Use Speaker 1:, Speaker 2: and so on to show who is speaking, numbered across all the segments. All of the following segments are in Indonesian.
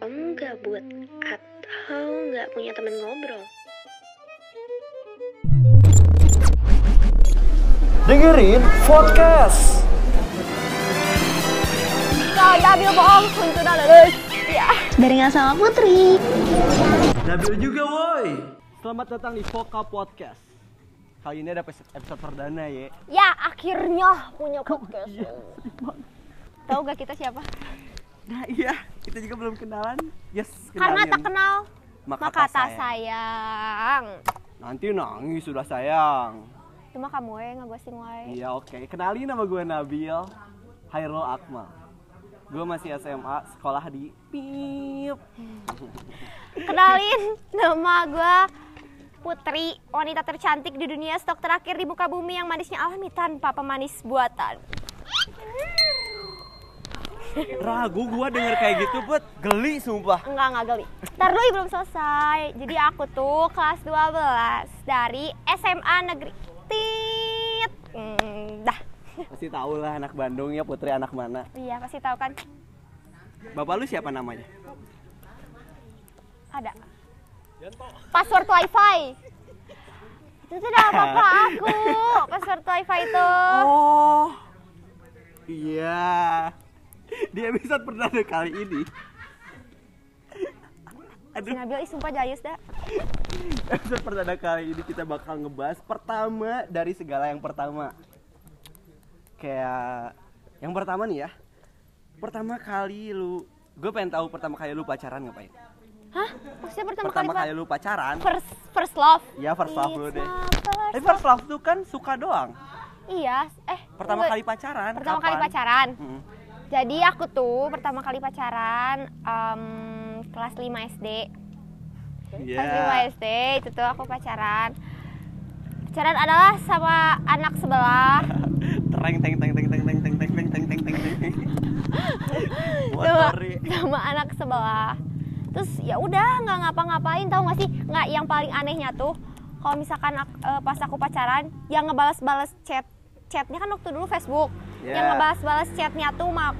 Speaker 1: kamu gabut atau nggak punya teman ngobrol.
Speaker 2: dengerin podcast
Speaker 3: Nabil bohong, Kuntu lulus.
Speaker 2: Iya.
Speaker 3: Ya.
Speaker 1: Barengan sama Putri.
Speaker 2: Nabil juga woi selamat datang di Foka Podcast kali ini ada episode perdana ya
Speaker 3: Ya, akhirnya punya podcast. Tahu gak kita siapa?
Speaker 2: nah iya kita juga belum kenalan yes
Speaker 3: Karena tak kenal,
Speaker 2: Maka
Speaker 3: maka,
Speaker 2: tak
Speaker 3: tak sayang.
Speaker 2: nanti nangis sudah sayang
Speaker 3: Cuma kamu eh ngabosin wae.
Speaker 2: iya oke kenalin nama gue Nabil Hairul Akmal gue masih SMA sekolah di Pip
Speaker 3: Kenalin, nama gue Putri, wanita tercantik di dunia stok terakhir di muka bumi yang manisnya alami tanpa pemanis buatan.
Speaker 2: ragu gue denger kayak gitu buat geli sumpah
Speaker 3: Enggak, enggak geli. Ntar dulu belum selesai. Jadi aku tuh kelas 12 dari SMA Negeri Tit. Hmm, dah.
Speaker 2: pasti tau lah anak Bandung ya putri anak mana
Speaker 3: Iya, pasti tahu kan.
Speaker 2: bapak lu siapa namanya
Speaker 3: Ada. Password WiFi. Itu tuh udah papa aku. Password WiFi itu.
Speaker 2: Oh. Iya. Di episode perdana kali ini.
Speaker 3: Si
Speaker 2: Aduh,
Speaker 3: Nabil ih sumpah jayus dah.
Speaker 2: episode perdana kali ini kita bakal ngebahas pertama dari segala yang pertama. Kayak yang pertama nih ya. Pertama kali lu gue pengen tahu pertama kali lu pacaran ngapain?
Speaker 3: Hah? Maksudnya pertama,
Speaker 2: Pertama
Speaker 3: kali,
Speaker 2: kali lu pacaran?
Speaker 3: first first love.
Speaker 2: Iya, first love
Speaker 3: It's
Speaker 2: dulu deh.
Speaker 3: my first-
Speaker 2: Eh first love tuh kan suka doang.
Speaker 3: Iya, eh
Speaker 2: Pertama
Speaker 3: tunggu.
Speaker 2: kali pacaran.
Speaker 3: Pertama kali
Speaker 2: kapan?
Speaker 3: pacaran.
Speaker 2: Mm-mm.
Speaker 3: Jadi aku tuh pertama kali pacaran em, kelas 5 SD.
Speaker 2: Iya.
Speaker 3: Kelas 5 SD itu tuh aku pacaran. Pacaran adalah sama anak sebelah.
Speaker 2: Tereng teng teng teng teng teng teng teng teng teng teng teng teng.
Speaker 3: sama,
Speaker 2: Motor ya.
Speaker 3: sama anak sebelah terus ya udah nggak ngapa-ngapain tahu nggak sih nggak yang paling anehnya tuh kalau misalkan ak- eh, pas aku pacaran yang ngebalas-balas chat chatnya kan waktu dulu Facebook
Speaker 2: Ya.
Speaker 3: yang ngebalas-balas chatnya tuh ma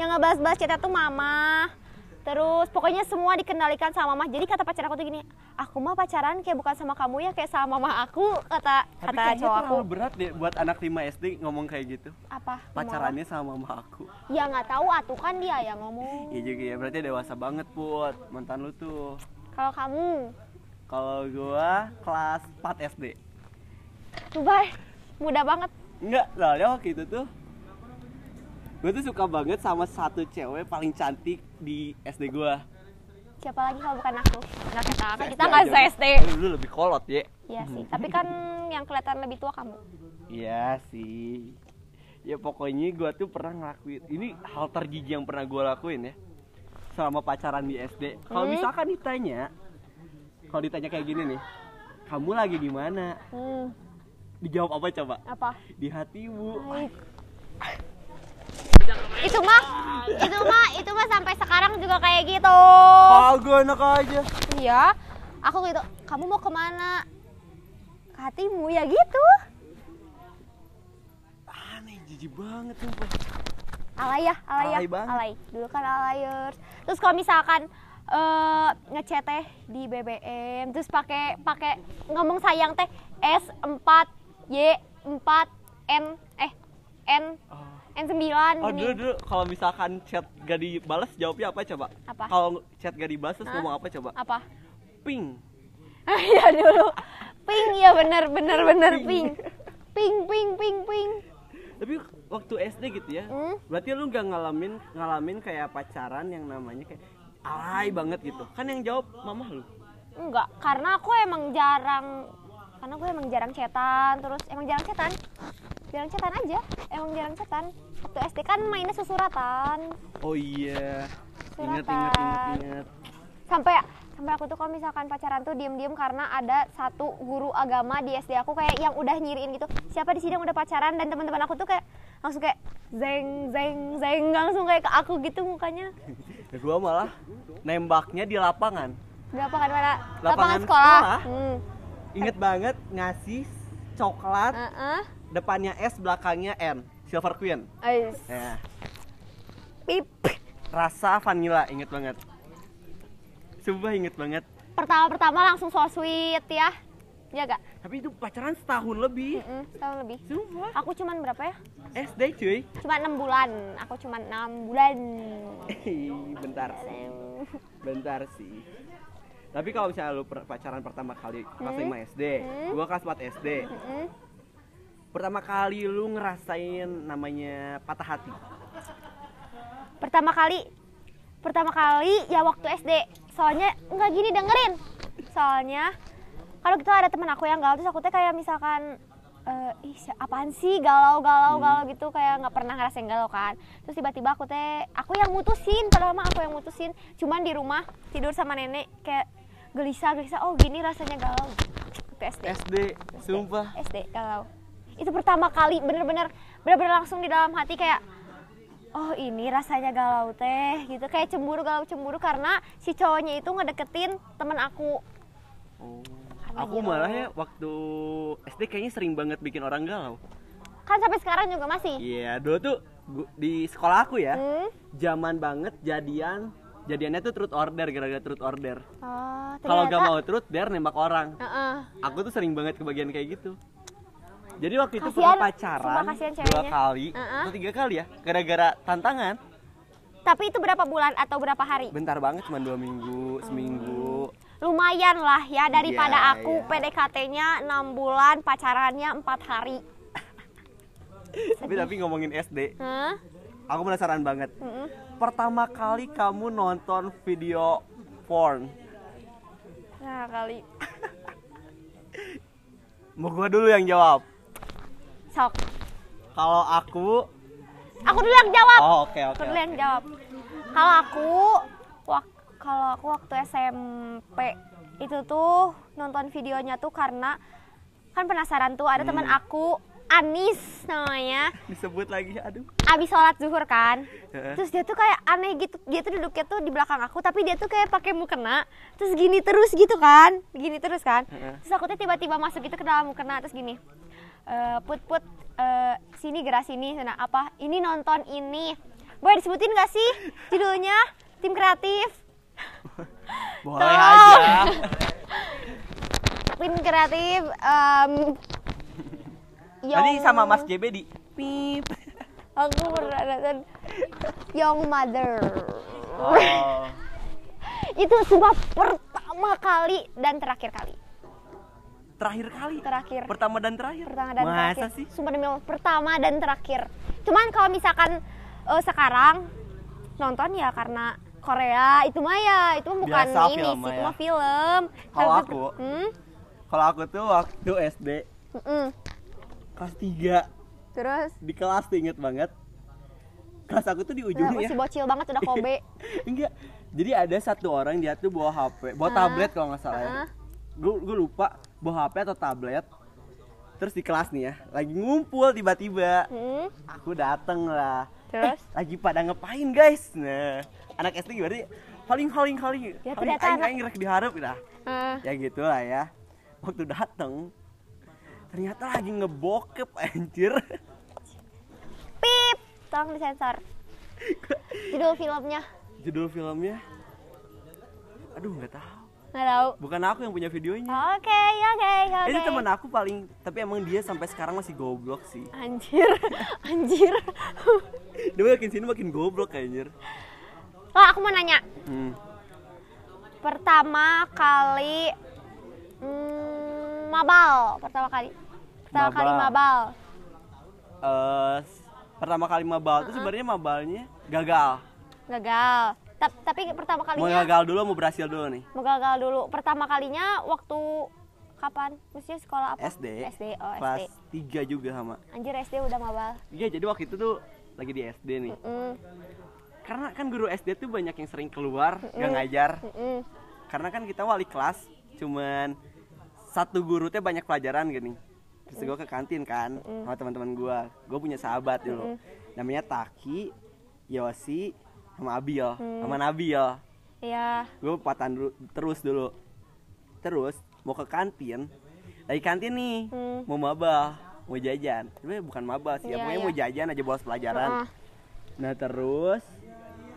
Speaker 3: yang ngebalas-balas chatnya tuh mama terus pokoknya semua dikendalikan sama mama jadi kata pacar aku tuh gini aku mah pacaran kayak bukan sama kamu ya kayak sama mama aku kata
Speaker 2: Tapi gitu
Speaker 3: kata
Speaker 2: kayaknya
Speaker 3: cowok aku
Speaker 2: terlalu berat deh buat anak 5 SD ngomong kayak gitu.
Speaker 3: apa ngomong apa?
Speaker 2: Pacarannya sama mama aku.
Speaker 3: ya nggak tahu atuh kan dia yang ngomong
Speaker 2: Iya juga ya, berarti dewasa banget buat mantan lu tuh.
Speaker 3: Kalau kamu,
Speaker 2: Kalau gua kelas 4 SD.
Speaker 3: Dubai, mudah banget.
Speaker 2: Enggak, soalnya waktu itu tuh Gue tuh suka banget sama satu cewek paling cantik di SD gua
Speaker 3: Siapa lagi kalau bukan aku? Nggak kita, kan kita nggak
Speaker 2: aja.
Speaker 3: se-SD.
Speaker 2: Lu lebih kolot ya
Speaker 3: Iya sih, tapi kan yang kelihatan lebih tua kamu.
Speaker 2: Iya sih. Ya pokoknya gue tuh pernah ngelakuin ini hal tergigi yang pernah gue lakuin ya selama pacaran di SD. Kalau
Speaker 3: Hmm.
Speaker 2: misalkan ditanya, kalau ditanya kayak gini nih, kamu lagi di mana?
Speaker 3: Hmm,
Speaker 2: Dijawab apa coba?
Speaker 3: apa?
Speaker 2: Di hatimu.
Speaker 3: Baik. Itu mah, itu mah, itu mah sampai sekarang juga kayak gitu.
Speaker 2: Ah, gue enak aja.
Speaker 3: Iya, aku gitu. Kamu mau kemana? Ke hatimu ya gitu.
Speaker 2: Aneh, jijik banget sumpah.
Speaker 3: alay ya alay ya
Speaker 2: Alay banget.
Speaker 3: alay dulu kan alayers terus kalau misalkan eh ngechat teh di BBM terus pakai pakai ngomong sayang teh S 4 Y 4 N eh N
Speaker 2: Oh.
Speaker 3: N 9
Speaker 2: Oh
Speaker 3: gini.
Speaker 2: dulu dulu kalau misalkan chat gak dibales jawabnya apa coba?
Speaker 3: Apa?
Speaker 2: Kalau chat gak dibales terus
Speaker 3: Hah?
Speaker 2: ngomong apa coba?
Speaker 3: apa
Speaker 2: Ping.
Speaker 3: ya dulu ping ya bener bener bener
Speaker 2: Ping.
Speaker 3: ping ping ping ping ping
Speaker 2: Tapi waktu SD gitu ya,
Speaker 3: Hmm.
Speaker 2: berarti lu nggak ngalamin ngalamin kayak pacaran yang namanya kayak alay banget gitu. Kan yang jawab mamah lu.
Speaker 3: enggak karena aku emang jarang karena gue emang jarang cetan terus emang jarang cetan jarang cetan aja emang jarang cetan waktu SD kan mainnya susuratan
Speaker 2: Oh iya. Ingat
Speaker 3: Suratan.
Speaker 2: ingat ingat ingat.
Speaker 3: sampai sampai aku tuh kalau misalkan pacaran tuh diem-diem karena ada satu guru agama di SD aku kayak yang udah nyiriin gitu siapa di sini yang udah pacaran dan teman-teman aku tuh kayak langsung kayak zeng zeng zeng langsung kayak ke aku gitu mukanya
Speaker 2: Ya, gua malah nembaknya di lapangan.
Speaker 3: berapa kan mana
Speaker 2: Lapangan
Speaker 3: lapangan sekolah,
Speaker 2: sekolah?
Speaker 3: Hmm.
Speaker 2: Ingat banget ngasih coklat
Speaker 3: Heeh.
Speaker 2: depannya S belakangnya N. Silver Queen.
Speaker 3: Ais.
Speaker 2: Ya.
Speaker 3: pip
Speaker 2: rasa vanilla inget banget sumpah inget banget
Speaker 3: Pertama-pertama langsung so sweet ya. Iya gak?
Speaker 2: tapi itu pacaran setahun lebih
Speaker 3: Mm-mm, setahun lebih.
Speaker 2: sumpah
Speaker 3: Aku cuman berapa ya?
Speaker 2: SD cuy
Speaker 3: Cuma enam bulan. Aku cuma enam bulan.
Speaker 2: bentar sih bentar sih tapi kalau misalnya lu per- pacaran pertama kali kelas 5 SD
Speaker 3: Hmm.
Speaker 2: gua kelas 4 SD
Speaker 3: Mm-mm.
Speaker 2: pertama kali lu ngerasain namanya patah hati
Speaker 3: Pertama kali, pertama kali ya waktu SD. Soalnya nggak gini dengerin. Soalnya kalau gitu ada teman aku yang galau terus aku teh kayak misalkan eh ih si- apaan sih galau galau galau gitu kayak nggak pernah ngerasain galau kan terus tiba-tiba aku teh aku yang mutusin padahal mah aku yang mutusin cuman di rumah tidur sama nenek kayak gelisah gelisah oh gini rasanya galau ke SD
Speaker 2: SD sumpah
Speaker 3: SD kalau itu pertama kali bener-bener bener-bener langsung di dalam hati kayak oh ini rasanya galau teh gitu kayak cemburu galau cemburu karena si cowoknya itu ngedeketin temen aku
Speaker 2: Oh.
Speaker 3: Apa
Speaker 2: aku
Speaker 3: gitu?
Speaker 2: malah ya waktu SD kayaknya sering banget bikin orang galau
Speaker 3: kan sampai sekarang juga masih
Speaker 2: iya dulu tuh gu- di sekolah aku ya
Speaker 3: hmm?
Speaker 2: zaman banget jadian jadiannya tuh truth order gara-gara truth order
Speaker 3: oh,
Speaker 2: kalau
Speaker 3: ternyata-
Speaker 2: gak mau truth dare nembak orang
Speaker 3: Heeh.
Speaker 2: aku tuh sering banget kebagian kayak gitu jadi waktu itu
Speaker 3: Kasian,
Speaker 2: pernah pacaran
Speaker 3: sumpah kasian
Speaker 2: dua
Speaker 3: ceweknya.
Speaker 2: kali
Speaker 3: Heeh.
Speaker 2: atau tiga kali ya gara-gara tantangan
Speaker 3: tapi itu berapa bulan atau berapa hari
Speaker 2: bentar banget cuma dua minggu seminggu
Speaker 3: Oh. lumayan lah ya daripada
Speaker 2: Iya,
Speaker 3: aku
Speaker 2: iya.
Speaker 3: PDKT-nya 6 bulan pacarannya 4 hari
Speaker 2: tapi tapi ngomongin SD
Speaker 3: Hah?
Speaker 2: aku penasaran banget
Speaker 3: Mm-mm.
Speaker 2: pertama kali kamu nonton video porn
Speaker 3: nah kali
Speaker 2: mau gua dulu yang jawab
Speaker 3: sok
Speaker 2: kalau aku
Speaker 3: aku dulu yang jawab
Speaker 2: oh oke oke
Speaker 3: Aku dulu yang jawab. Kalau aku, wak- kalau aku waktu SMP itu tuh nonton videonya tuh karena kan penasaran tuh ada teman aku Anis namanya
Speaker 2: disebut lagi aduh
Speaker 3: abis sholat zuhur kan
Speaker 2: Heeh.
Speaker 3: terus dia tuh kayak aneh gitu dia tuh duduknya tuh di belakang aku tapi dia tuh kayak pakai mukena terus gini terus gitu kan gini terus kan
Speaker 2: Heeh.
Speaker 3: terus aku tuh tiba-tiba masuk gitu ke dalam mukena terus gini "Eh, put put eh, sini gerak sini sana apa ini nonton ini boleh disebutin gak sih judulnya tim kreatif
Speaker 2: boleh
Speaker 3: Tolong.
Speaker 2: aja
Speaker 3: tim kreatif em,
Speaker 2: nanti
Speaker 3: Young-
Speaker 2: sama Mas JB di pip
Speaker 3: aku pernah nonton Young Mother
Speaker 2: oh.
Speaker 3: itu sumpah pertama kali dan terakhir kali
Speaker 2: terakhir kali
Speaker 3: terakhir
Speaker 2: pertama dan terakhir
Speaker 3: pertama dan
Speaker 2: masa
Speaker 3: terakhir
Speaker 2: sih
Speaker 3: sumpah demi Allah, pertama dan terakhir cuman kalau misalkan eh, sekarang nonton ya karena Korea itu mah ya itu mah bukan
Speaker 2: Biasa
Speaker 3: ini
Speaker 2: film
Speaker 3: sih
Speaker 2: mah
Speaker 3: itu
Speaker 2: ya.
Speaker 3: mah film
Speaker 2: Kalau
Speaker 3: Tapi-
Speaker 2: aku?
Speaker 3: hmm?
Speaker 2: kalau aku tuh waktu SD
Speaker 3: Mm-mm.
Speaker 2: kelas 3
Speaker 3: terus
Speaker 2: di kelas tuh inget banget kelas aku tuh di
Speaker 3: aku
Speaker 2: ujungnya
Speaker 3: si bocil banget udah kobe
Speaker 2: enggak jadi ada satu orang dia tuh bawa HP bawa
Speaker 3: Ah.
Speaker 2: tablet kalau nggak salah ya
Speaker 3: Ah.
Speaker 2: gue gue lupa bawa HP atau tablet terus di kelas nih ya lagi ngumpul tiba-tiba
Speaker 3: Hmm,
Speaker 2: aku dateng lah Eh,
Speaker 3: terus
Speaker 2: lagi pada ngapain guys nah anak SD gimana sih paling paling paling
Speaker 3: Ya,
Speaker 2: paling
Speaker 3: ternyata
Speaker 2: aing
Speaker 3: anak-
Speaker 2: aing rek diharap lah
Speaker 3: eh,
Speaker 2: ya gitulah ya waktu dateng ternyata lagi ngebokep anjir
Speaker 3: pip tolong disensor judul filmnya
Speaker 2: judul filmnya aduh nggak tahu
Speaker 3: nggak tahu
Speaker 2: bukan aku yang punya videonya
Speaker 3: oke oke oke
Speaker 2: ini teman aku paling tapi emang dia sampai sekarang masih goblok sih
Speaker 3: anjir anjir
Speaker 2: dia makin sini makin goblok anjir
Speaker 3: oh aku mau nanya
Speaker 2: hmm.
Speaker 3: pertama kali mm, mabal pertama kali pertama
Speaker 2: Mabal.
Speaker 3: kali mabal
Speaker 2: Eh, s- pertama kali mabal tuh sebenarnya mabalnya gagal
Speaker 3: gagal Ta- tapi pertama
Speaker 2: mau
Speaker 3: kalinya
Speaker 2: gagal dulu mau berhasil dulu nih
Speaker 3: mau gagal dulu pertama kalinya waktu kapan maksudnya sekolah apa
Speaker 2: SD,
Speaker 3: SD oh
Speaker 2: kelas
Speaker 3: SD
Speaker 2: 3 juga sama
Speaker 3: anjir SD udah mabal
Speaker 2: Iya jadi waktu itu tuh lagi di SD nih
Speaker 3: Mm,
Speaker 2: Karena kan guru SD tuh banyak yang sering keluar Gak ngajar
Speaker 3: mm.
Speaker 2: Karena kan kita wali kelas Cuman satu guru teh banyak pelajaran gini Terus gue ke kantin kan Sama teman-teman gue Gue punya sahabat dulu Namanya Taki Yosi Sama Abil Sama Nabil
Speaker 3: ya
Speaker 2: Gue patan dulu- terus dulu Terus mau ke kantin Lagi kantin nih
Speaker 3: Hmm.
Speaker 2: Mau mabah Mau jajan Sebenernya bukan mabah sih ya,
Speaker 3: Iya,
Speaker 2: Pokoknya
Speaker 3: iya.
Speaker 2: mau jajan aja bolos pelajaran
Speaker 3: Heeh.
Speaker 2: Nah terus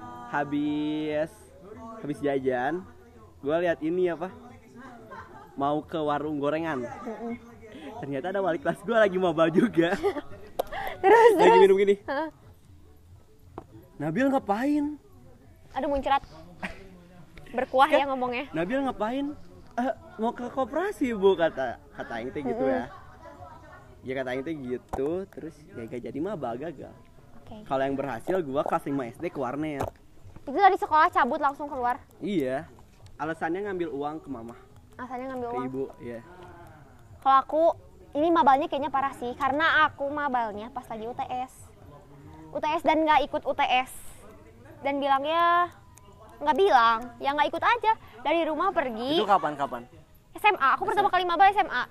Speaker 2: Nah, habis habis jajan gue lihat ini apa mau ke warung gorengan ternyata ada wali kelas gue lagi mabal juga
Speaker 3: terus
Speaker 2: lagi minum gini
Speaker 3: Hah?
Speaker 2: Nabil ngapain
Speaker 3: aduh muncrat berkuah ya ngomongnya
Speaker 2: Nabil ngapain "Eh, mau ke koperasi bu kata kata Aing teh gitu ya ya kata Aing teh gitu terus ya gak jadi mabal gagal
Speaker 3: oke
Speaker 2: kalau yang berhasil gue kelas 5 SD ke warnet
Speaker 3: itu dari sekolah cabut langsung keluar
Speaker 2: iya alasannya ngambil uang ke mama
Speaker 3: asalnya ngambil
Speaker 2: ke
Speaker 3: uang
Speaker 2: ibu ya
Speaker 3: kalau aku ini mabalnya kayaknya parah sih karena aku mabalnya pas lagi UTS UTS dan nggak ikut UTS dan bilangnya nggak bilang ya nggak ikut aja dari rumah
Speaker 2: itu
Speaker 3: pergi
Speaker 2: kapan-kapan
Speaker 3: SMA aku pertama kali mabal SMA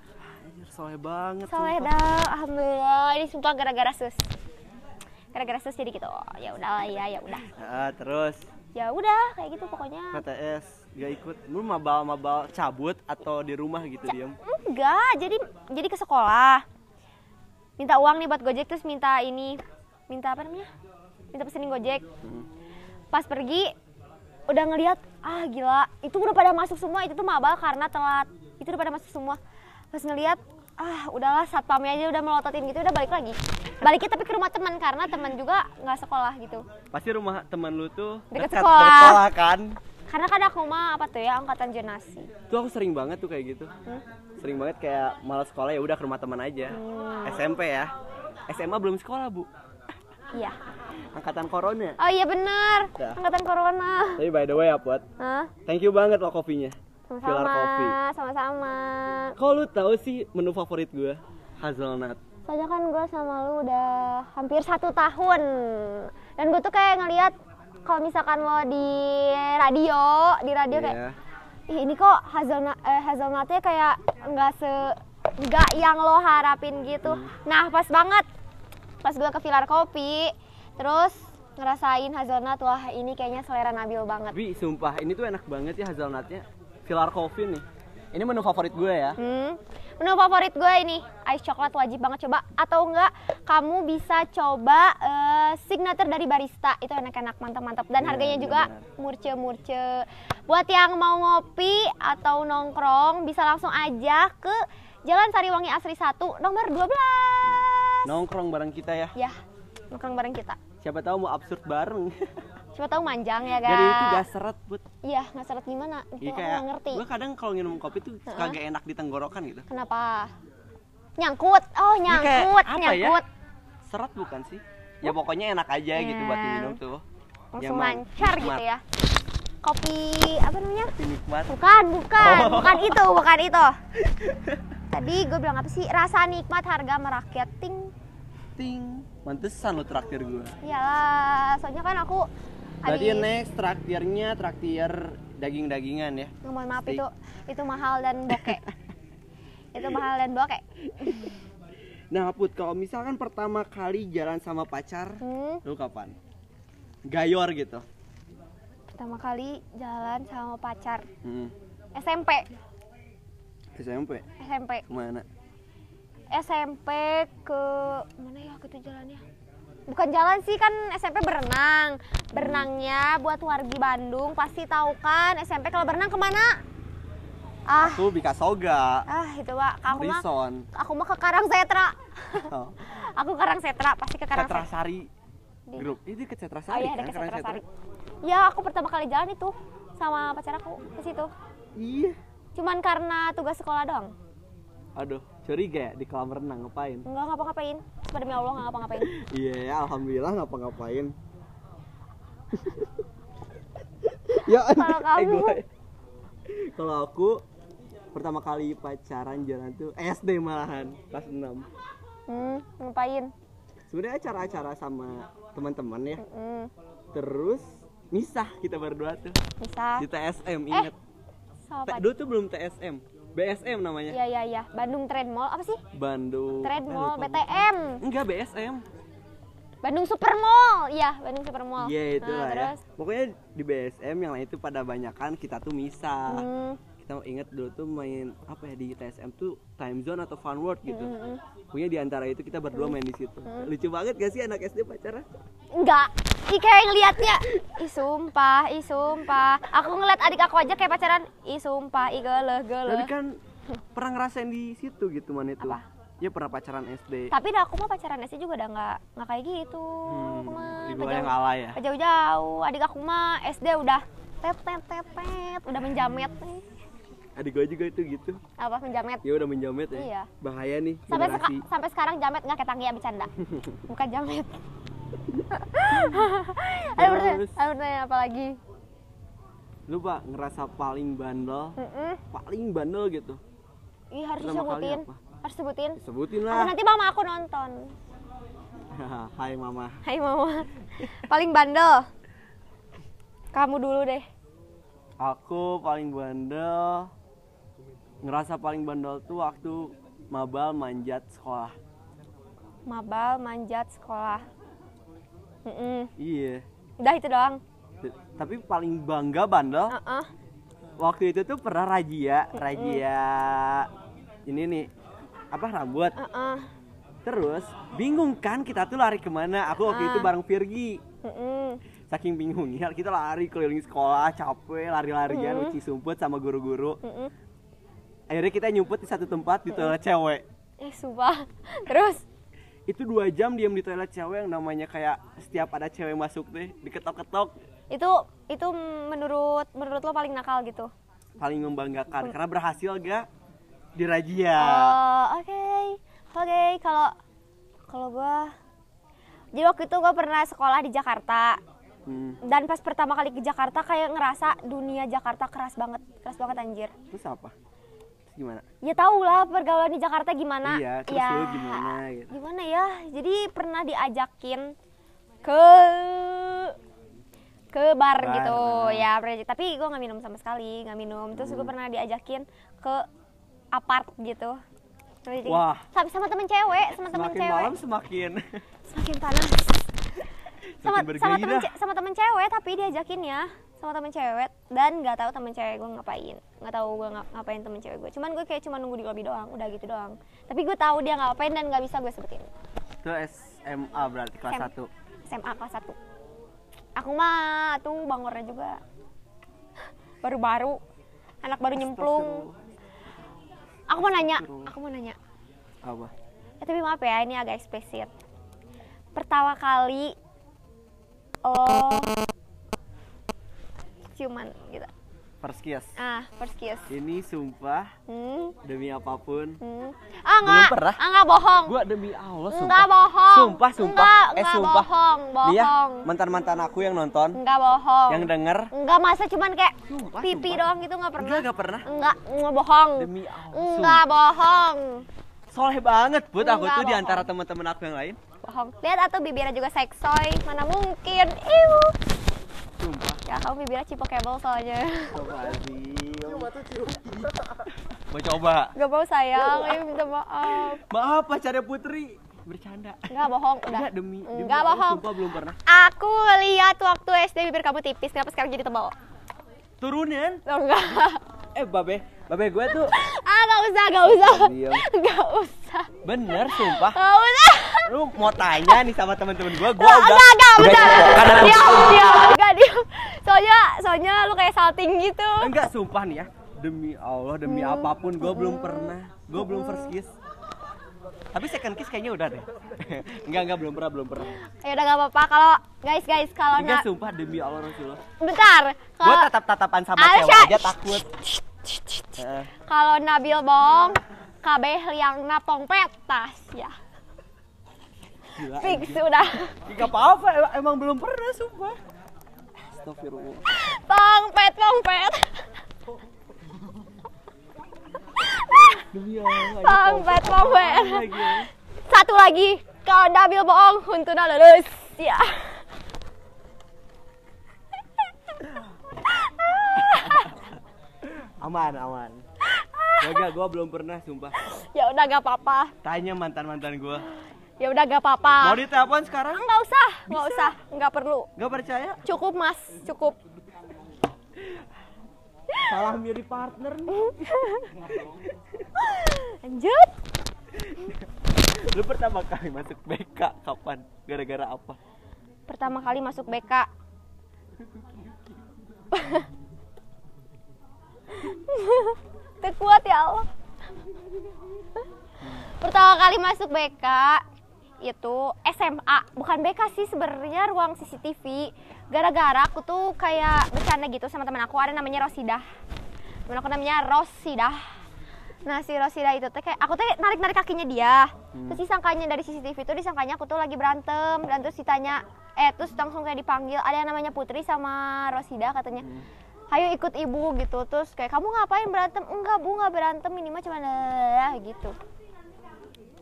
Speaker 2: Anjir, soleh banget
Speaker 3: Soleh
Speaker 2: sumpah.
Speaker 3: dah, alhamdulillah ini semua gara-gara sus gara-gara sus jadi gitu oh, ya udah ya ya udah
Speaker 2: Ah, terus
Speaker 3: ya udah kayak gitu pokoknya
Speaker 2: PTS gak ikut lu mabal mabal cabut atau di rumah gitu diem
Speaker 3: enggak jadi jadi ke sekolah minta uang nih buat gojek terus minta ini minta apa namanya minta pesenin gojek pas pergi udah ngelihat ah gila itu udah pada masuk semua itu tuh mabal karena telat itu udah pada masuk semua pas ngelihat ah udahlah satpamnya aja udah melototin gitu udah balik lagi baliknya tapi ke rumah teman karena teman juga nggak sekolah gitu
Speaker 2: pasti rumah teman lu tuh
Speaker 3: Deket
Speaker 2: dekat
Speaker 3: sekolah.
Speaker 2: dari sekolah kan
Speaker 3: karena kan aku mah apa tuh ya angkatan jonasi
Speaker 2: tuh aku sering banget tuh kayak gitu sering banget kayak malas sekolah ya udah ke rumah teman aja SMP ya SMA belum sekolah bu
Speaker 3: iya
Speaker 2: angkatan corona
Speaker 3: oh iya bener
Speaker 2: Dah.
Speaker 3: angkatan corona
Speaker 2: tapi by the way ya buat
Speaker 3: Hah?
Speaker 2: thank you banget lo kopinya Pilar
Speaker 3: Sama-sama,
Speaker 2: kopi
Speaker 3: sama-sama.
Speaker 2: kok lu tahu sih menu favorit gue hazelnut
Speaker 3: Soalnya kan gue sama lu udah hampir satu tahun. Dan gue tuh kayak ngeliat kalau misalkan lo di radio, di radio kayak,
Speaker 2: Iya.
Speaker 3: Ih, ini kok hazelnut eh, hazelnutnya kayak nggak se nggak yang lo harapin gitu.
Speaker 2: Hmm.
Speaker 3: Nah pas banget pas gue ke Pilar Kopi, terus ngerasain hazelnut wah ini kayaknya selera Nabil banget.
Speaker 2: Tapi sumpah ini tuh enak banget ya hazelnutnya. Pilar Coffee nih. Ini menu favorit gue ya.
Speaker 3: Hmm, menu favorit gue ini ice coklat wajib banget coba atau enggak kamu bisa coba eh, signature dari barista itu enak-enak mantap-mantap dan
Speaker 2: Iya,
Speaker 3: harganya juga
Speaker 2: benar-benar.
Speaker 3: murce-murce. Buat yang mau ngopi atau nongkrong bisa langsung aja ke Jalan Sariwangi Asri 1 nomor 12.
Speaker 2: Nongkrong bareng kita ya.
Speaker 3: Ya, nongkrong bareng kita.
Speaker 2: Siapa tahu mau absurd bareng.
Speaker 3: Coba tahu manjang ya,
Speaker 2: Jadi itu
Speaker 3: guys.
Speaker 2: gak seret but.
Speaker 3: Iya, nggak seret gimana? Itu
Speaker 2: Iya
Speaker 3: aku
Speaker 2: kayak
Speaker 3: nggak ngerti.
Speaker 2: gue kadang kalau minum kopi tuh suka gak enak di tenggorokan gitu.
Speaker 3: Kenapa? Nyangkut. Oh,
Speaker 2: Ini kayak
Speaker 3: nyangkut,
Speaker 2: apa ya?
Speaker 3: nyangkut.
Speaker 2: Seret bukan sih? Ya pokoknya enak aja gitu buat diminum tuh.
Speaker 3: Ya. langsung
Speaker 2: Nyaman,
Speaker 3: lancar
Speaker 2: nikmat.
Speaker 3: gitu ya kopi apa namanya
Speaker 2: Kopi nikmat.
Speaker 3: bukan bukan
Speaker 2: Oh.
Speaker 3: bukan itu bukan itu tadi gue bilang apa sih rasa nikmat harga merakyat ting
Speaker 2: Ting. Mantesan lu traktir gue.
Speaker 3: iyalah soalnya kan aku
Speaker 2: Berarti
Speaker 3: habis
Speaker 2: next traktirnya traktir daging-dagingan ya.
Speaker 3: Oh, mohon maaf
Speaker 2: Steak.
Speaker 3: itu itu mahal dan bokeh itu mahal dan bokeh
Speaker 2: Nah Put, kalau misalkan pertama kali jalan sama pacar,
Speaker 3: hmm,
Speaker 2: lu kapan? Gayor gitu.
Speaker 3: pertama kali jalan sama pacar
Speaker 2: Hmm.
Speaker 3: SMP
Speaker 2: SMP
Speaker 3: SMP
Speaker 2: kemana?
Speaker 3: SMP ke mana ya aku tuh jalannya? Bukan jalan sih kan SMP berenang. Berenangnya buat wargi Bandung pasti tahu kan SMP kalau berenang kemana? Ah,
Speaker 2: Aku Bika Soga,
Speaker 3: ah itu pak. Aku mah
Speaker 2: Rison,
Speaker 3: aku mah ke Karang Setra.
Speaker 2: oh.
Speaker 3: aku Karang Setra pasti ke Karang Setra.
Speaker 2: Cetrasari
Speaker 3: Di-
Speaker 2: Grup. Itu ke
Speaker 3: Oh
Speaker 2: Cetrasari
Speaker 3: iya,
Speaker 2: kan?
Speaker 3: dekat
Speaker 2: Karang
Speaker 3: Setra
Speaker 2: Cetra.
Speaker 3: Sari. Ya aku pertama kali jalan itu sama pacar aku ke situ.
Speaker 2: Iya.
Speaker 3: Cuman karena tugas sekolah doang.
Speaker 2: Aduh, curiga ya di kolam renang ngapain?
Speaker 3: Enggak ngapa-ngapain. Sumpah demi Allah enggak ngapa-ngapain.
Speaker 2: Iya, ya, alhamdulillah ngapa-ngapain. ya,
Speaker 3: Kalau
Speaker 2: eh,
Speaker 3: kamu?
Speaker 2: gue- Kalau aku pertama kali pacaran jalan tuh SD malahan, kelas 6.
Speaker 3: Hmm, ngapain?
Speaker 2: Sebenarnya acara-acara sama teman-teman ya.
Speaker 3: Hmm,
Speaker 2: Terus misah kita berdua tuh
Speaker 3: bisa.
Speaker 2: di TSM
Speaker 3: Eh,
Speaker 2: inget.
Speaker 3: Sama
Speaker 2: T-
Speaker 3: pacar.
Speaker 2: dulu tuh belum TSM, BSM namanya.
Speaker 3: Iya iya iya, Bandung Trend Mall apa sih?
Speaker 2: Bandung.
Speaker 3: Trend
Speaker 2: eh,
Speaker 3: Mall
Speaker 2: lupa.
Speaker 3: BTM,
Speaker 2: Enggak BSM.
Speaker 3: Bandung Super Mall. Iya, Bandung Super Mall.
Speaker 2: Iya itulah
Speaker 3: Nah,
Speaker 2: ya.
Speaker 3: Terus
Speaker 2: Pokoknya di BSM yang lain itu pada banyakan kita tuh misah.
Speaker 3: hmm,
Speaker 2: Kita inget dulu tuh main apa ya di TSM tuh time zone atau fun world gitu.
Speaker 3: mm, mm. Mm-hmm.
Speaker 2: Pokoknya di antara itu kita berdua main di situ. Lucu banget gak sih anak SD pacaran?
Speaker 3: enggak. si kayak ngelihatnya ih sumpah ih sumpah aku ngeliat adik aku aja kayak pacaran ih sumpah ih geleh
Speaker 2: Tapi
Speaker 3: geleh
Speaker 2: kan pernah ngerasain di situ gitu man itu.
Speaker 3: ya? Apa?
Speaker 2: Ya pernah pacaran SD.
Speaker 3: tapi dah aku mah pacaran sih juga udah nggak nggak kayak gitu aku
Speaker 2: Hmm,
Speaker 3: mah
Speaker 2: di
Speaker 3: nggak
Speaker 2: gua yang
Speaker 3: jauh-
Speaker 2: ala ya.
Speaker 3: nggak jauh-jauh adik aku mah SD udah tet tet tet tet udah menjamet nih
Speaker 2: Adik gua juga itu gitu.
Speaker 3: apa menjamet
Speaker 2: Ya udah menjamet ya.
Speaker 3: Iya.
Speaker 2: Bahaya nih
Speaker 3: sampai seka-
Speaker 2: generasi.
Speaker 3: sampai sekarang jamet nggak ketang ya bercanda bukan jamet ada pertanyaan
Speaker 2: Terus.
Speaker 3: ada pertanyaan apa lagi
Speaker 2: Lu pak ngerasa paling bandel,
Speaker 3: Mm-mm.
Speaker 2: paling bandel gitu.
Speaker 3: Ih, harus
Speaker 2: Pertama kali
Speaker 3: disebutin
Speaker 2: apa? Nah.
Speaker 3: harus sebutin
Speaker 2: Sebutin
Speaker 3: Atau
Speaker 2: lah.
Speaker 3: nanti mama aku nonton
Speaker 2: Hai mama.
Speaker 3: Hai mama paling bandel kamu dulu deh
Speaker 2: Aku paling bandel. Ngerasa paling bandel tuh waktu mabal manjat sekolah.
Speaker 3: mabal manjat sekolah Mm-mm.
Speaker 2: Iya.
Speaker 3: udah itu doang
Speaker 2: T- Tapi paling bangga bandel
Speaker 3: Heeh.
Speaker 2: waktu itu tuh pernah razia, razia ini nih apa rambut.
Speaker 3: Heeh.
Speaker 2: Terus bingung kan kita tuh lari kemana? Aku waktu itu bareng Virgi.
Speaker 3: Mm-mm.
Speaker 2: Saking bingungnya kita lari keliling sekolah, capek lari-larian, uci sumput sama guru-guru.
Speaker 3: Mm-mm.
Speaker 2: Akhirnya kita nyumput di satu tempat di toilet cewek.
Speaker 3: eh sumpah terus
Speaker 2: Itu dua jam diam di toilet cewek yang namanya kayak setiap ada cewek masuk deh diketok-ketok
Speaker 3: itu itu menurut menurut lo paling nakal gitu
Speaker 2: paling membanggakan karena berhasil gak dirajia.
Speaker 3: Oh, oke oke kalau kalau gua jadi waktu itu gua pernah sekolah di Jakarta
Speaker 2: Hmm.
Speaker 3: dan pas pertama kali ke Jakarta kayak ngerasa dunia Jakarta keras banget keras banget anjir
Speaker 2: Terus apa? Terus gimana?
Speaker 3: ya tau lah pergaulan di Jakarta gimana
Speaker 2: Iya, terus
Speaker 3: Ya,
Speaker 2: lu gimana gitu.
Speaker 3: gimana ya jadi pernah diajakin ke ke bar,
Speaker 2: Bar,
Speaker 3: gitu
Speaker 2: ah. Hmm.
Speaker 3: ya pernah- tapi gua nggak minum sama sekali nggak minum terus gua pernah diajakin ke apart gitu Jadi-
Speaker 2: Wah.
Speaker 3: sama, sama temen cewek sama temen
Speaker 2: Semakin
Speaker 3: cewek
Speaker 2: malam semakin
Speaker 3: semakin panas sama
Speaker 2: semakin
Speaker 3: sama temen
Speaker 2: bergairah.
Speaker 3: ce- sama temen cewek tapi diajakin ya sama temen cewek dan nggak tahu temen cewek gue ngapain nggak tahu gue nga- ngapain temen cewek gue cuman gue kayak cuma nunggu di lobi doang udah gitu doang tapi gue tahu dia ngapain dan nggak bisa gue sebutin
Speaker 2: Itu SMA berarti kelas
Speaker 3: Sem-
Speaker 2: 1.
Speaker 3: SMA kelas 1 aku mah tuh bangornya juga baru-baru anak baru nyemplung aku mau nanya aku mau nanya
Speaker 2: Apa?
Speaker 3: Eh, tapi maaf ya, ini agak eksplisit. Pertama kali oh ciuman gitu.
Speaker 2: First kiss.
Speaker 3: Ah, first kiss.
Speaker 2: Ini sumpah
Speaker 3: Hmm,
Speaker 2: demi apapun.
Speaker 3: hmm. Ah, enggak.
Speaker 2: pernah.
Speaker 3: Ah, enggak bohong.
Speaker 2: Gua demi Allah sumpah.
Speaker 3: Enggak bohong.
Speaker 2: Sumpah, sumpah.
Speaker 3: Enggak,
Speaker 2: eh,
Speaker 3: enggak
Speaker 2: sumpah.
Speaker 3: bohong,
Speaker 2: Nih ya,
Speaker 3: bohong.
Speaker 2: mantan-mantan aku yang nonton,
Speaker 3: Enggak bohong.
Speaker 2: yang denger
Speaker 3: Enggak masa cuman kayak
Speaker 2: Sumpah,
Speaker 3: pipi
Speaker 2: sumpah.
Speaker 3: doang gitu enggak pernah.
Speaker 2: Enggak, enggak pernah.
Speaker 3: Enggak, enggak bohong.
Speaker 2: Demi Allah,
Speaker 3: Enggak bohong.
Speaker 2: Soleh banget buat aku
Speaker 3: Enggak
Speaker 2: tuh di
Speaker 3: bohong.
Speaker 2: antara teman-teman aku yang lain.
Speaker 3: Bohong. Lihat atau bibirnya juga seksoy, mana mungkin. Iu.
Speaker 2: Sumpah.
Speaker 3: Ya, kamu bibirnya cipokable soalnya.
Speaker 2: Mau coba.
Speaker 3: Gak mau sayang, ini minta maaf.
Speaker 2: Maaf pacarnya Putri. Bercanda.
Speaker 3: Enggak bohong, udah.
Speaker 2: Enggak demi, demi
Speaker 3: Enggak
Speaker 2: Allah,
Speaker 3: bohong.
Speaker 2: Sumpah belum pernah.
Speaker 3: Aku lihat waktu SD bibir kamu tipis, kenapa sekarang jadi tebal?
Speaker 2: Turunin.
Speaker 3: Oh, enggak.
Speaker 2: Eh, babe, babe gue tuh
Speaker 3: Ah, enggak usah, enggak usah.
Speaker 2: Diam.
Speaker 3: Enggak usah.
Speaker 2: bener sumpah.
Speaker 3: Enggak usah.
Speaker 2: lu mau tanya nih sama teman-teman gua, gua udah
Speaker 3: Enggak, enggak, enggak,
Speaker 2: udah
Speaker 3: udah.
Speaker 2: cocokkan sama-
Speaker 3: Diam, diam. Enggak, diam. Soalnya, soalnya lu kayak salting gitu.
Speaker 2: enggak sumpah nih ya demi Allah demi
Speaker 3: Hmm.
Speaker 2: apapun gua belum pernah gua belum first kiss tapi second kiss kayaknya udah deh enggak enggak belum pernah belum pernah
Speaker 3: Ya udah enggak apa-apa kalau guys, guys, kalau
Speaker 2: enggak
Speaker 3: nak
Speaker 2: Iya sumpah demi Allah Rasulullah
Speaker 3: bentar.
Speaker 2: gua
Speaker 3: Kalau
Speaker 2: tatap tatapan sama
Speaker 3: Ada
Speaker 2: cewek
Speaker 3: Syah.
Speaker 2: aja takut Eh, Heeh.
Speaker 3: kalau Nabil bohong, kabeh liang napong petas ya.
Speaker 2: gila
Speaker 3: Fix udah.
Speaker 2: enggak ya apa-apa em- emang belum pernah sumpah Astagfirullah
Speaker 3: Pongpet, pongpet.
Speaker 2: demi Allah ini
Speaker 3: Sampai
Speaker 2: apaan
Speaker 3: sampai.
Speaker 2: lagi ya?
Speaker 3: Satu lagi, kalau Nabil bohong, Huntuna lulus. Ya.
Speaker 2: aman aman Enggak, gua belum pernah sumpah
Speaker 3: Ya udah gak apa-apa.
Speaker 2: Tanya mantan-mantan gua
Speaker 3: Ya udah gak
Speaker 2: Mau
Speaker 3: apa-apa.
Speaker 2: ditelepon sekarang?
Speaker 3: Enggak usah, enggak usah, enggak perlu.
Speaker 2: Gak percaya?
Speaker 3: Cukup, Mas. Cukup.
Speaker 2: Salah milih partner nih
Speaker 3: Lanjut.
Speaker 2: Lu pertama kali masuk BK kapan? Gara-gara apa?
Speaker 3: pertama kali masuk BK Terkuat ya Allah Pertama kali masuk BK itu SMA bukan BK sih sebenarnya ruang CCTV gara-gara aku tuh kayak bercanda gitu sama teman aku ada namanya Rosidah temen aku namanya Rosidah nah si Rosidah itu teh kayak aku teh narik narik kakinya dia
Speaker 2: Hmm.
Speaker 3: terus disangkanya dari CCTV itu disangkanya aku tuh lagi berantem dan terus ditanya eh terus langsung kayak dipanggil ada yang namanya Putri sama Rosidah katanya
Speaker 2: Hmm.
Speaker 3: ayo ikut ibu gitu terus kayak kamu ngapain berantem enggak bu nggak berantem ini mah cuma gitu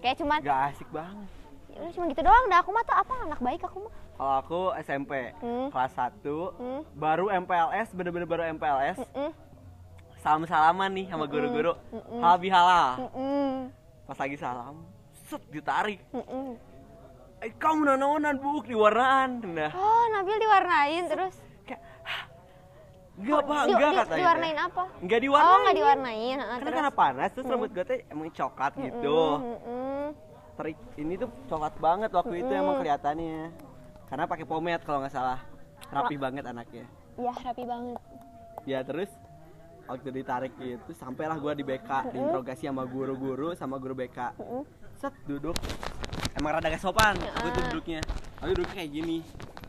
Speaker 3: kayak cuman
Speaker 2: Gak asik banget.
Speaker 3: Ya udah, cuma gitu doang dah aku mah tuh apa anak baik aku mah
Speaker 2: Kalau aku SMP
Speaker 3: Hmm.
Speaker 2: kelas 1
Speaker 3: Hmm.
Speaker 2: baru MPLS bener-bener baru MPLS
Speaker 3: Mm,
Speaker 2: salam salaman nih sama guru-guru halal bihalal
Speaker 3: mm,
Speaker 2: pas lagi salam set ditarik
Speaker 3: mm, mm.
Speaker 2: eh kamu nanonan buk di warnaan nah
Speaker 3: oh Nabil diwarnain terus
Speaker 2: kayak "Hah, enggak pak
Speaker 3: Oh, Di-
Speaker 2: enggak
Speaker 3: di-
Speaker 2: katanya
Speaker 3: diwarnain apa
Speaker 2: enggak
Speaker 3: oh
Speaker 2: diwarnain
Speaker 3: nggak diwarnain ah,
Speaker 2: karena
Speaker 3: terus
Speaker 2: karena panas terus rambut gue teh emang coklat gitu
Speaker 3: Mm, mm.
Speaker 2: terik ini tuh coklat banget waktu itu emang kelihatannya karena pakai pomade kalau nggak salah rapi banget anaknya
Speaker 3: ya rapi banget
Speaker 2: ya terus waktu ditarik itu sampailah gua di BK diinterogasi sama guru-guru sama guru BK set duduk emang rada gak sopan aku tuh duduknya aku duduknya kayak gini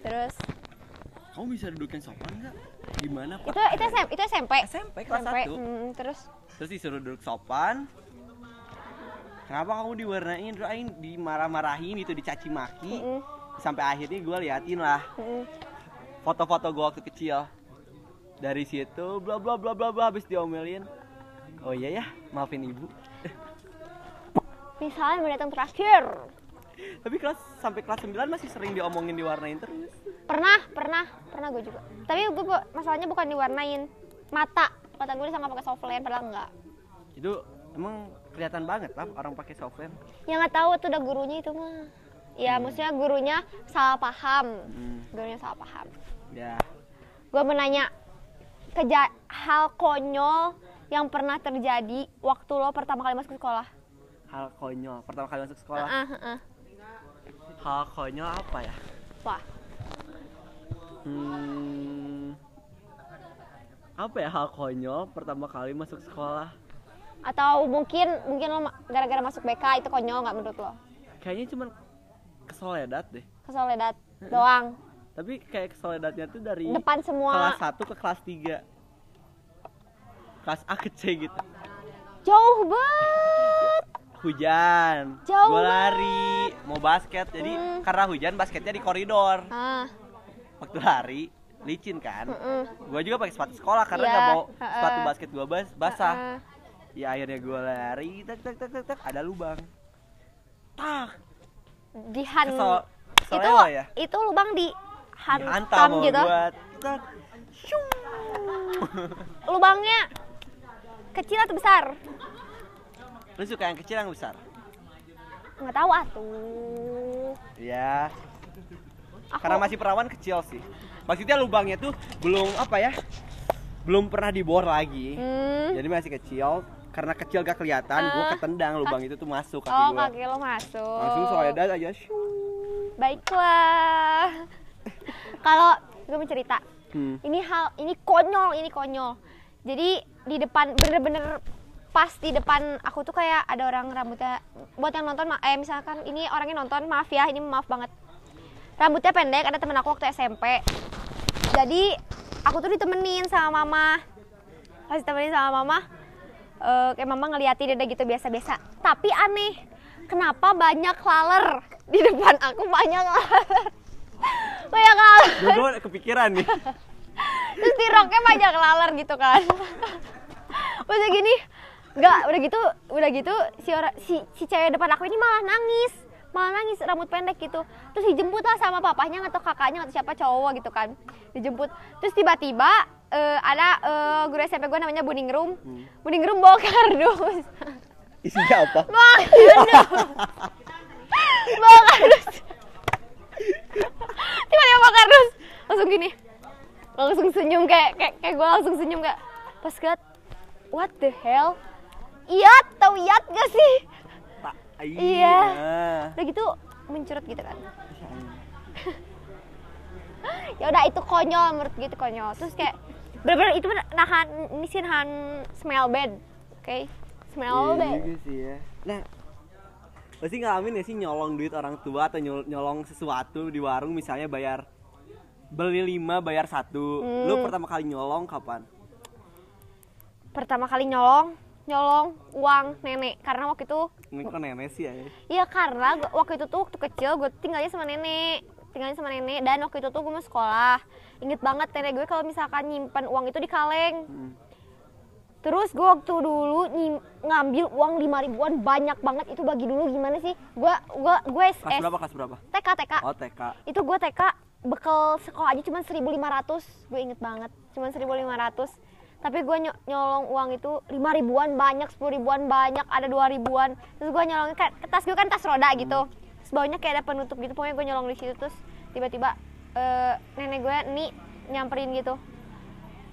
Speaker 3: terus
Speaker 2: kamu bisa duduk yang sopan nggak gimana pak
Speaker 3: itu itu SM, itu SMP
Speaker 2: Eh, SMP kelas
Speaker 3: SMP,
Speaker 2: satu
Speaker 3: mm, terus
Speaker 2: terus disuruh duduk sopan kenapa kamu diwarnain terus aing dimarah-marahin itu dicaci maki
Speaker 3: Mm.
Speaker 2: sampai akhirnya gua liatin lah
Speaker 3: Mm.
Speaker 2: foto-foto gua waktu kecil dari situ bla bla bla bla bla habis diomelin oh iya ya maafin ibu
Speaker 3: misalnya mendatang terakhir
Speaker 2: tapi kelas sampai kelas 9 masih sering diomongin diwarnain terus
Speaker 3: pernah pernah pernah gue juga tapi gue bu- masalahnya bukan diwarnain mata kata gue disangka pakai softland padahal enggak
Speaker 2: itu emang kelihatan banget lah orang pakai softland
Speaker 3: ya nggak tahu tuh udah gurunya itu mah ya
Speaker 2: Hmm.
Speaker 3: maksudnya gurunya salah paham gurunya salah paham
Speaker 2: ya
Speaker 3: gue mau nanya keja hal konyol yang pernah terjadi waktu lo pertama kali masuk sekolah
Speaker 2: hal konyol pertama kali masuk sekolah
Speaker 3: ah ah
Speaker 2: hal konyol apa ya
Speaker 3: wah
Speaker 2: hmm, apa ya hal konyol pertama kali masuk sekolah
Speaker 3: atau mungkin mungkin lo ma- gara-gara masuk BK itu konyol nggak menurut lo
Speaker 2: kayaknya cuman kesoledat deh
Speaker 3: kesoledat ya, doang
Speaker 2: tapi kayak kesoledatnya tuh dari
Speaker 3: depan semua
Speaker 2: kelas 1 ke kelas 3 kelas A ke C gitu
Speaker 3: jauh banget
Speaker 2: hujan
Speaker 3: Jauh
Speaker 2: gua lari mau basket jadi
Speaker 3: Hmm.
Speaker 2: karena hujan basketnya di koridor
Speaker 3: ah
Speaker 2: waktu lari licin kan
Speaker 3: mm.
Speaker 2: gua juga pakai sepatu sekolah karena
Speaker 3: Iya,
Speaker 2: nggak mau
Speaker 3: ha-ha.
Speaker 2: sepatu basket gua bas- basah
Speaker 3: ah.
Speaker 2: ya akhirnya gua lari tak tak tak tak, tak, ada lubang tak
Speaker 3: dihan
Speaker 2: Kesel- kesel
Speaker 3: Kan itu
Speaker 2: lo ya?
Speaker 3: itu lubang di
Speaker 2: hantam
Speaker 3: hantam
Speaker 2: mau
Speaker 3: gitu
Speaker 2: gua tak.
Speaker 3: lubangnya kecil atau besar
Speaker 2: lu suka yang kecil yang besar
Speaker 3: nggak tahu atuh
Speaker 2: ya
Speaker 3: aku
Speaker 2: karena masih perawan kecil sih maksudnya lubangnya tuh belum apa ya belum pernah dibor lagi
Speaker 3: Hmm. Ah.
Speaker 2: jadi masih kecil karena kecil gak kelihatan gua ketendang lubang itu tuh masuk kaki
Speaker 3: oh
Speaker 2: gua
Speaker 3: kaki lo masuk
Speaker 2: langsung soledad aja shoo.
Speaker 3: baiklah kalau gue mau cerita
Speaker 2: Hmm.
Speaker 3: ini hal ini konyol ini konyol jadi di depan bener-bener pas di depan aku tuh kayak ada orang rambutnya buat yang nonton ma- eh misalkan ini orangnya nonton maaf ya ini maaf banget rambutnya pendek ada temen aku waktu SMP jadi aku tuh ditemenin sama mama pas ditemenin sama mama eh, kayak mama ngeliatin dia gitu biasa-biasa tapi aneh kenapa banyak laler di depan aku banyak laler banyak laler
Speaker 2: Gua- gua kepikiran nih
Speaker 3: terus di roknya banyak laler gitu kan udah gini nggak udah gitu udah gitu si ora- si si cewek depan aku ini malah nangis malah nangis rambut pendek gitu terus dijemput lah sama papahnya atau kakaknya atau siapa cowok gitu kan dijemput terus tiba-tiba eh, ada eh, guru SMP gue namanya Buning Room Buning Room bawa kardus
Speaker 2: isinya apa
Speaker 3: bawa kardus bawa kardus tiba-tiba bawa kardus langsung gini langsung senyum kayak kayak, kayak gue langsung senyum kayak pas liat what the hell iat tau iat gak sih
Speaker 2: Tak,
Speaker 3: Iya. udah gitu mencurut gitu kan ya udah itu konyol menurut gue itu konyol terus kayak bener-bener itu bener- nahan ini sih nahan smell bad oke smell
Speaker 2: Iya
Speaker 3: bad
Speaker 2: juga sih ya. Nah, pasti ngalamin ya sih nyolong duit orang tua atau nyol- nyolong sesuatu di warung misalnya bayar beli lima bayar satu.
Speaker 3: Hmm.
Speaker 2: Lu pertama kali nyolong kapan?
Speaker 3: pertama kali nyolong nyolong uang nenek karena waktu itu
Speaker 2: Ini kok nenek sih ya.
Speaker 3: Iya karena gua- waktu itu tuh waktu kecil gue tinggalnya sama nenek tinggalnya sama nenek dan waktu itu tuh gue mau sekolah inget banget nenek gue kalau misalkan nyimpan uang itu di kaleng
Speaker 2: Hmm.
Speaker 3: terus gue waktu dulu nyim- ngambil uang lima ribuan banyak banget itu bagi dulu gimana sih gue gue gue
Speaker 2: Kelas
Speaker 3: SS
Speaker 2: berapa? Kelas berapa?
Speaker 3: TK TK
Speaker 2: Oh TK.
Speaker 3: itu gue TK bekal sekolah aja cuma 1500 gue inget banget cuma 1500 tapi gue nyo- nyolong uang itu 5 ribuan banyak 10 ribuan banyak ada 2 ribuan terus gue nyolongnya kayak tas gue kan tas roda gitu terus bawahnya kayak ada penutup gitu pokoknya gue nyolong di situ terus tiba-tiba eh, nenek gue nih nyamperin gitu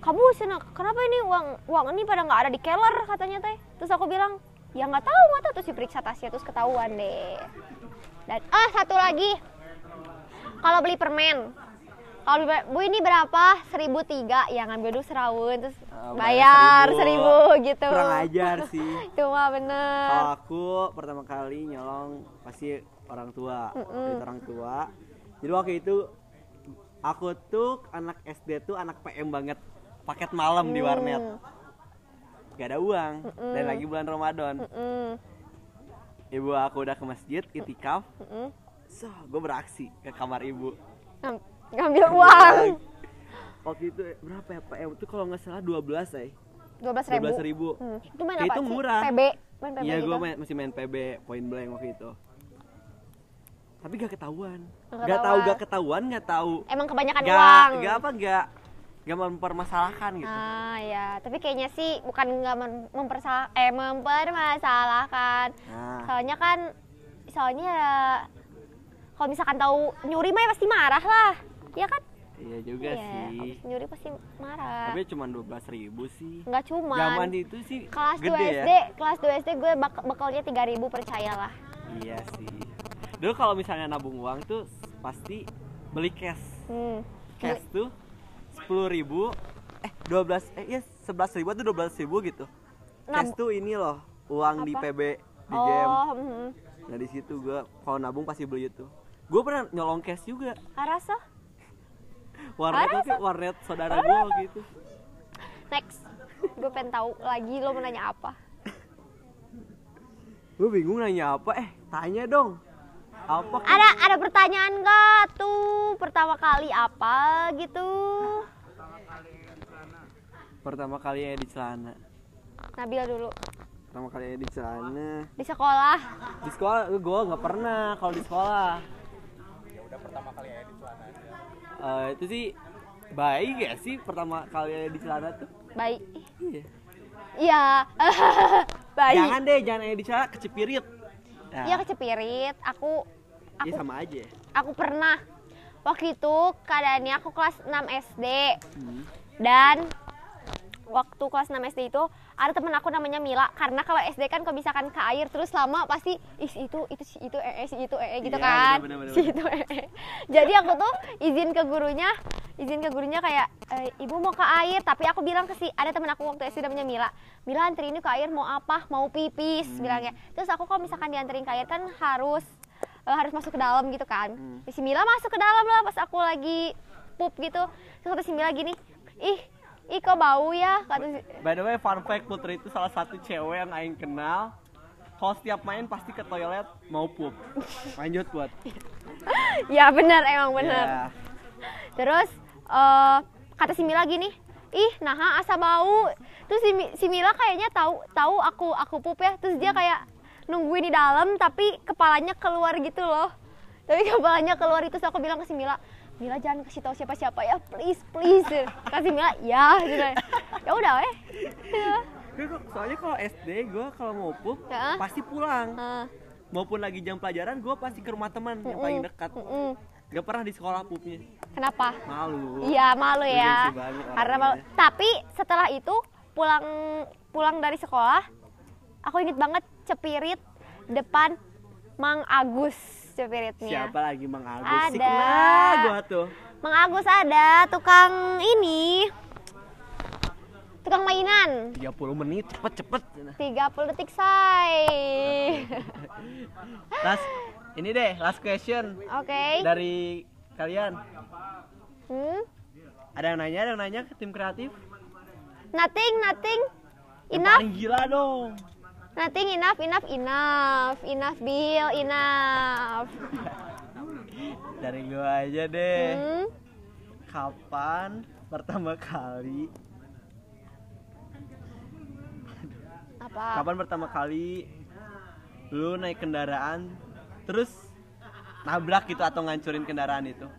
Speaker 3: kamu sana kenapa ini uang uang ini pada nggak ada di keller katanya teh terus aku bilang ya nggak tahu nggak tahu terus diperiksa tasnya terus ketahuan deh dan ah satu lagi kalau beli permen kalau beli permen, bu ini berapa seribu tiga ya ngambil dulu serawun terus
Speaker 2: Ah,
Speaker 3: bayar seribu gitu
Speaker 2: Kurang Ah. ajar sih.
Speaker 3: itu mah bener
Speaker 2: Kalau aku pertama kali nyolong pasti orang tua, duit orang tua. Jadi waktu itu aku tuh anak SD tuh anak PM banget, paket malam di warnet. Gak ada uang dan lagi bulan Ramadan.
Speaker 3: Mm,
Speaker 2: Ibu aku udah ke masjid, itikaf.
Speaker 3: mm.
Speaker 2: So, gue beraksi ke kamar ibu.
Speaker 3: Ngam- ngambil uang
Speaker 2: Waktu itu berapa ya PM itu kalau nggak salah 12 ya.
Speaker 3: dua belas ribu
Speaker 2: 12 ribu.
Speaker 3: Hmm. itu main
Speaker 2: Kayak
Speaker 3: apa
Speaker 2: itu
Speaker 3: sih?
Speaker 2: murah.
Speaker 3: PB main PB
Speaker 2: Iya,
Speaker 3: gitu
Speaker 2: gue masih main PB point blank waktu itu. Tapi gak ketahuan. Gak
Speaker 3: Nggak
Speaker 2: tahu
Speaker 3: ketahuan.
Speaker 2: gak ketahuan, gak tahu.
Speaker 3: emang kebanyakan
Speaker 2: Gak,
Speaker 3: uang
Speaker 2: gak apa gak gak mempermasalahkan gitu.
Speaker 3: Ah ya, tapi kayaknya sih bukan nggak mem- mempersa- eh, mempermasalahkan.
Speaker 2: Nah.
Speaker 3: Soalnya kan, soalnya ya, kalau misalkan tahu nyuri mah ya pasti marah lah, ya kan?
Speaker 2: Iya juga
Speaker 3: Iya, kalau
Speaker 2: sih.
Speaker 3: nyuri pasti marah.
Speaker 2: Tapi cuma 12 ribu sih.
Speaker 3: Nggak cuman.
Speaker 2: Zaman itu sih
Speaker 3: kelas
Speaker 2: gede
Speaker 3: 2
Speaker 2: ya.
Speaker 3: SD, kelas 2 SD gue bak- bekalnya 3000 percayalah.
Speaker 2: Iya sih. Dulu kalau misalnya nabung uang tuh pasti beli cash.
Speaker 3: Hmm.
Speaker 2: Cash tuh 10 ribu eh 12 eh iya 11 ribu atau 12 ribu gitu. Cash
Speaker 3: Nab-
Speaker 2: tuh ini loh uang di
Speaker 3: Apa?
Speaker 2: PB di
Speaker 3: oh,
Speaker 2: game.
Speaker 3: hmm.
Speaker 2: Nah di situ gue kalau nabung pasti beli itu. Gue pernah nyolong cash juga.
Speaker 3: Arasa.
Speaker 2: Warnet
Speaker 3: Parah,
Speaker 2: tuh kayak warnet saudara gue gitu.
Speaker 3: Next. gue pengen tahu lagi lo mau nanya apa.
Speaker 2: Gue bingung nanya apa eh tanya dong. Apa?
Speaker 3: Ada ada pertanyaan nggak tuh pertama kali apa gitu?
Speaker 2: Pertama kali ya di celana.
Speaker 3: Nabila dulu
Speaker 2: Pertama kali ya di celana.
Speaker 3: di sekolah.
Speaker 2: Di sekolah gue nggak pernah kalau di sekolah. Ya udah pertama kali ya di celana itu sih baik ya sih pertama kali ya di celana tuh.
Speaker 3: Baik.
Speaker 2: Iya.
Speaker 3: Iya. Baik.
Speaker 2: Jangan deh jangan ya di celana kecepirit. Nah,
Speaker 3: Iya kecepirit. Aku
Speaker 2: iya
Speaker 3: aku
Speaker 2: sama aja. ya.
Speaker 3: aku pernah waktu itu keadaannya aku kelas 6 SD
Speaker 2: Hmm.
Speaker 3: dan waktu kelas 6 SD itu ada temen aku namanya Mila karena kalau SD kan kalau misalkan ke air terus lama pasti is itu itu si itu eh, eh, si itu eh eh," gitu
Speaker 2: Iya,
Speaker 3: kan
Speaker 2: benar, benar,
Speaker 3: si itu eh, eh. jadi aku tuh izin ke gurunya izin ke gurunya kayak "Eh, ibu mau ke air tapi aku bilang ke si ada temen aku waktu SD namanya Mila Mila antri ini ke air mau apa mau pipis bilangnya terus aku kalau misalkan dianterin ke air kan harus eh, harus masuk ke dalam gitu kan si Mila masuk ke dalam lah pas aku lagi pup gitu terus kata si Mila gini ih ih kok bau ya kata si,
Speaker 2: By the way, fun fact Putri itu salah satu cewek yang aing kenal. Kalau setiap main pasti ke toilet mau pup. Lanjut buat.
Speaker 3: ya benar emang benar
Speaker 2: Ya.
Speaker 3: Terus eh kata si Mila gini, ih naha asa bau. Terus si, Mi- si Mila kayaknya tahu tahu aku aku pup ya. Terus dia kayak nungguin di dalam tapi kepalanya keluar gitu loh. Tapi kepalanya keluar itu aku bilang ke si Mila, Mila jangan kasih tahu siapa-siapa ya, please please. Kata si Mila, ya gitu. Ya udah eh.
Speaker 2: Gue kok- Soalnya kalau SD gue kalau mau pup
Speaker 3: Ya.
Speaker 2: pasti pulang.
Speaker 3: Nah,
Speaker 2: Maupun lagi jam pelajaran gue pasti ke rumah teman yang paling dekat.
Speaker 3: mm-mm.
Speaker 2: Gak pernah di sekolah pupnya.
Speaker 3: Kenapa?
Speaker 2: Malu.
Speaker 3: Iya
Speaker 2: Lu
Speaker 3: malu ya.
Speaker 2: gengsi banget
Speaker 3: Karena
Speaker 2: orangnya.
Speaker 3: malu. Tapi setelah itu pulang pulang dari sekolah, aku inget banget cepirit depan Mang Agus cepiritnya.
Speaker 2: Siapa lagi Mang Agus? Si
Speaker 3: Ada.
Speaker 2: kenal gue tuh.
Speaker 3: Mang Agus ada tukang ini tukang mainan
Speaker 2: 30 menit cepet cepet
Speaker 3: 30 detik say
Speaker 2: last ini deh last question
Speaker 3: oke
Speaker 2: dari kalian
Speaker 3: hmm?
Speaker 2: ada yang nanya ada yang nanya ke tim kreatif
Speaker 3: nothing nothing
Speaker 2: Yang
Speaker 3: enough
Speaker 2: paling gila dong
Speaker 3: nothing enough enough enough enough Bill enough
Speaker 2: dari gua aja deh
Speaker 3: hmm?
Speaker 2: kapan pertama kali
Speaker 3: apa
Speaker 2: kapan pertama kali lu naik kendaraan terus nabrak gitu atau ngancurin kendaraan itu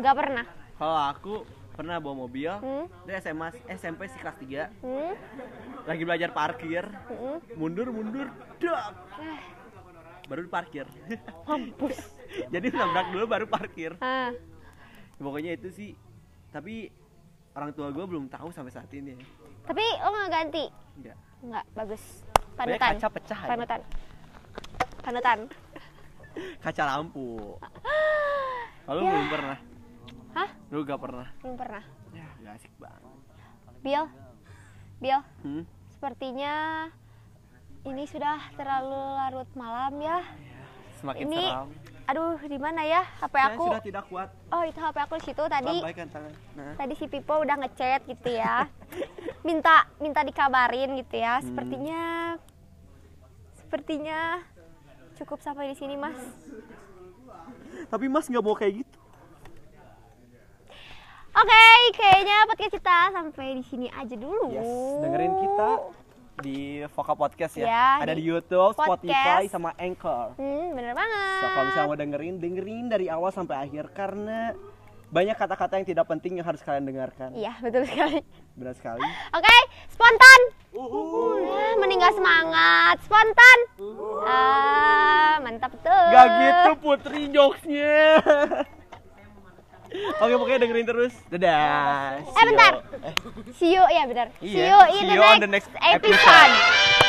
Speaker 3: nggak pernah
Speaker 2: kalau aku pernah bawa mobil
Speaker 3: Hmm?
Speaker 2: dari SMA SMP sih kelas 3
Speaker 3: Hmm?
Speaker 2: lagi belajar parkir
Speaker 3: Hmm?
Speaker 2: mundur mundur dak baru parkir
Speaker 3: mampus
Speaker 2: jadi nabrak dulu baru parkir
Speaker 3: ah
Speaker 2: pokoknya itu sih tapi orang tua gue belum tahu sampai saat ini ya.
Speaker 3: tapi lo nggak ganti
Speaker 2: Enggak.
Speaker 3: nggak bagus
Speaker 2: Banyak
Speaker 3: panutan
Speaker 2: kaca pecah aja.
Speaker 3: panutan panutan
Speaker 2: kaca lampu lalu belum pernah
Speaker 3: Ya. hah
Speaker 2: lu gak pernah
Speaker 3: belum pernah
Speaker 2: ya gak asik banget
Speaker 3: Bill Bill
Speaker 2: hmm?
Speaker 3: sepertinya ini sudah terlalu larut malam ya
Speaker 2: semakin
Speaker 3: ini
Speaker 2: seram
Speaker 3: aduh di mana ya HP
Speaker 2: Saya
Speaker 3: aku
Speaker 2: sudah tidak kuat
Speaker 3: oh itu HP aku di situ tadi
Speaker 2: lambaikan tangan nah
Speaker 3: tadi si Pipo udah ngechat gitu ya minta minta dikabarin gitu
Speaker 2: Hmm.
Speaker 3: ya sepertinya sepertinya cukup sampai di sini mas
Speaker 2: tapi mas nggak mau kayak gitu
Speaker 3: oke kayaknya podcast kita sampai di sini aja dulu
Speaker 2: yes dengerin kita di Voka Podcast ya,
Speaker 3: Oh. Ya,
Speaker 2: ada
Speaker 3: di
Speaker 2: di YouTube,
Speaker 3: podcast.
Speaker 2: Spotify sama Anchor.
Speaker 3: hmm, bener banget
Speaker 2: So, kalau misalnya mau dengerin, dengerin dari awal sampai akhir karena banyak kata-kata yang tidak penting yang harus kalian dengarkan.
Speaker 3: iya betul sekali
Speaker 2: Benar sekali.
Speaker 3: oke spontan
Speaker 2: Uhuy.
Speaker 3: Ah, meninggal semangat spontan
Speaker 2: Uhuh.
Speaker 3: ah mantap tuh
Speaker 2: Gak gitu putri jokesnya Oke pokoknya dengerin terus Dadah See you.
Speaker 3: bentar.
Speaker 2: Eh,
Speaker 3: see you ya benar
Speaker 2: Iya,
Speaker 3: see you in
Speaker 2: see
Speaker 3: the
Speaker 2: you on
Speaker 3: next,
Speaker 2: the next
Speaker 3: episode.
Speaker 2: episode.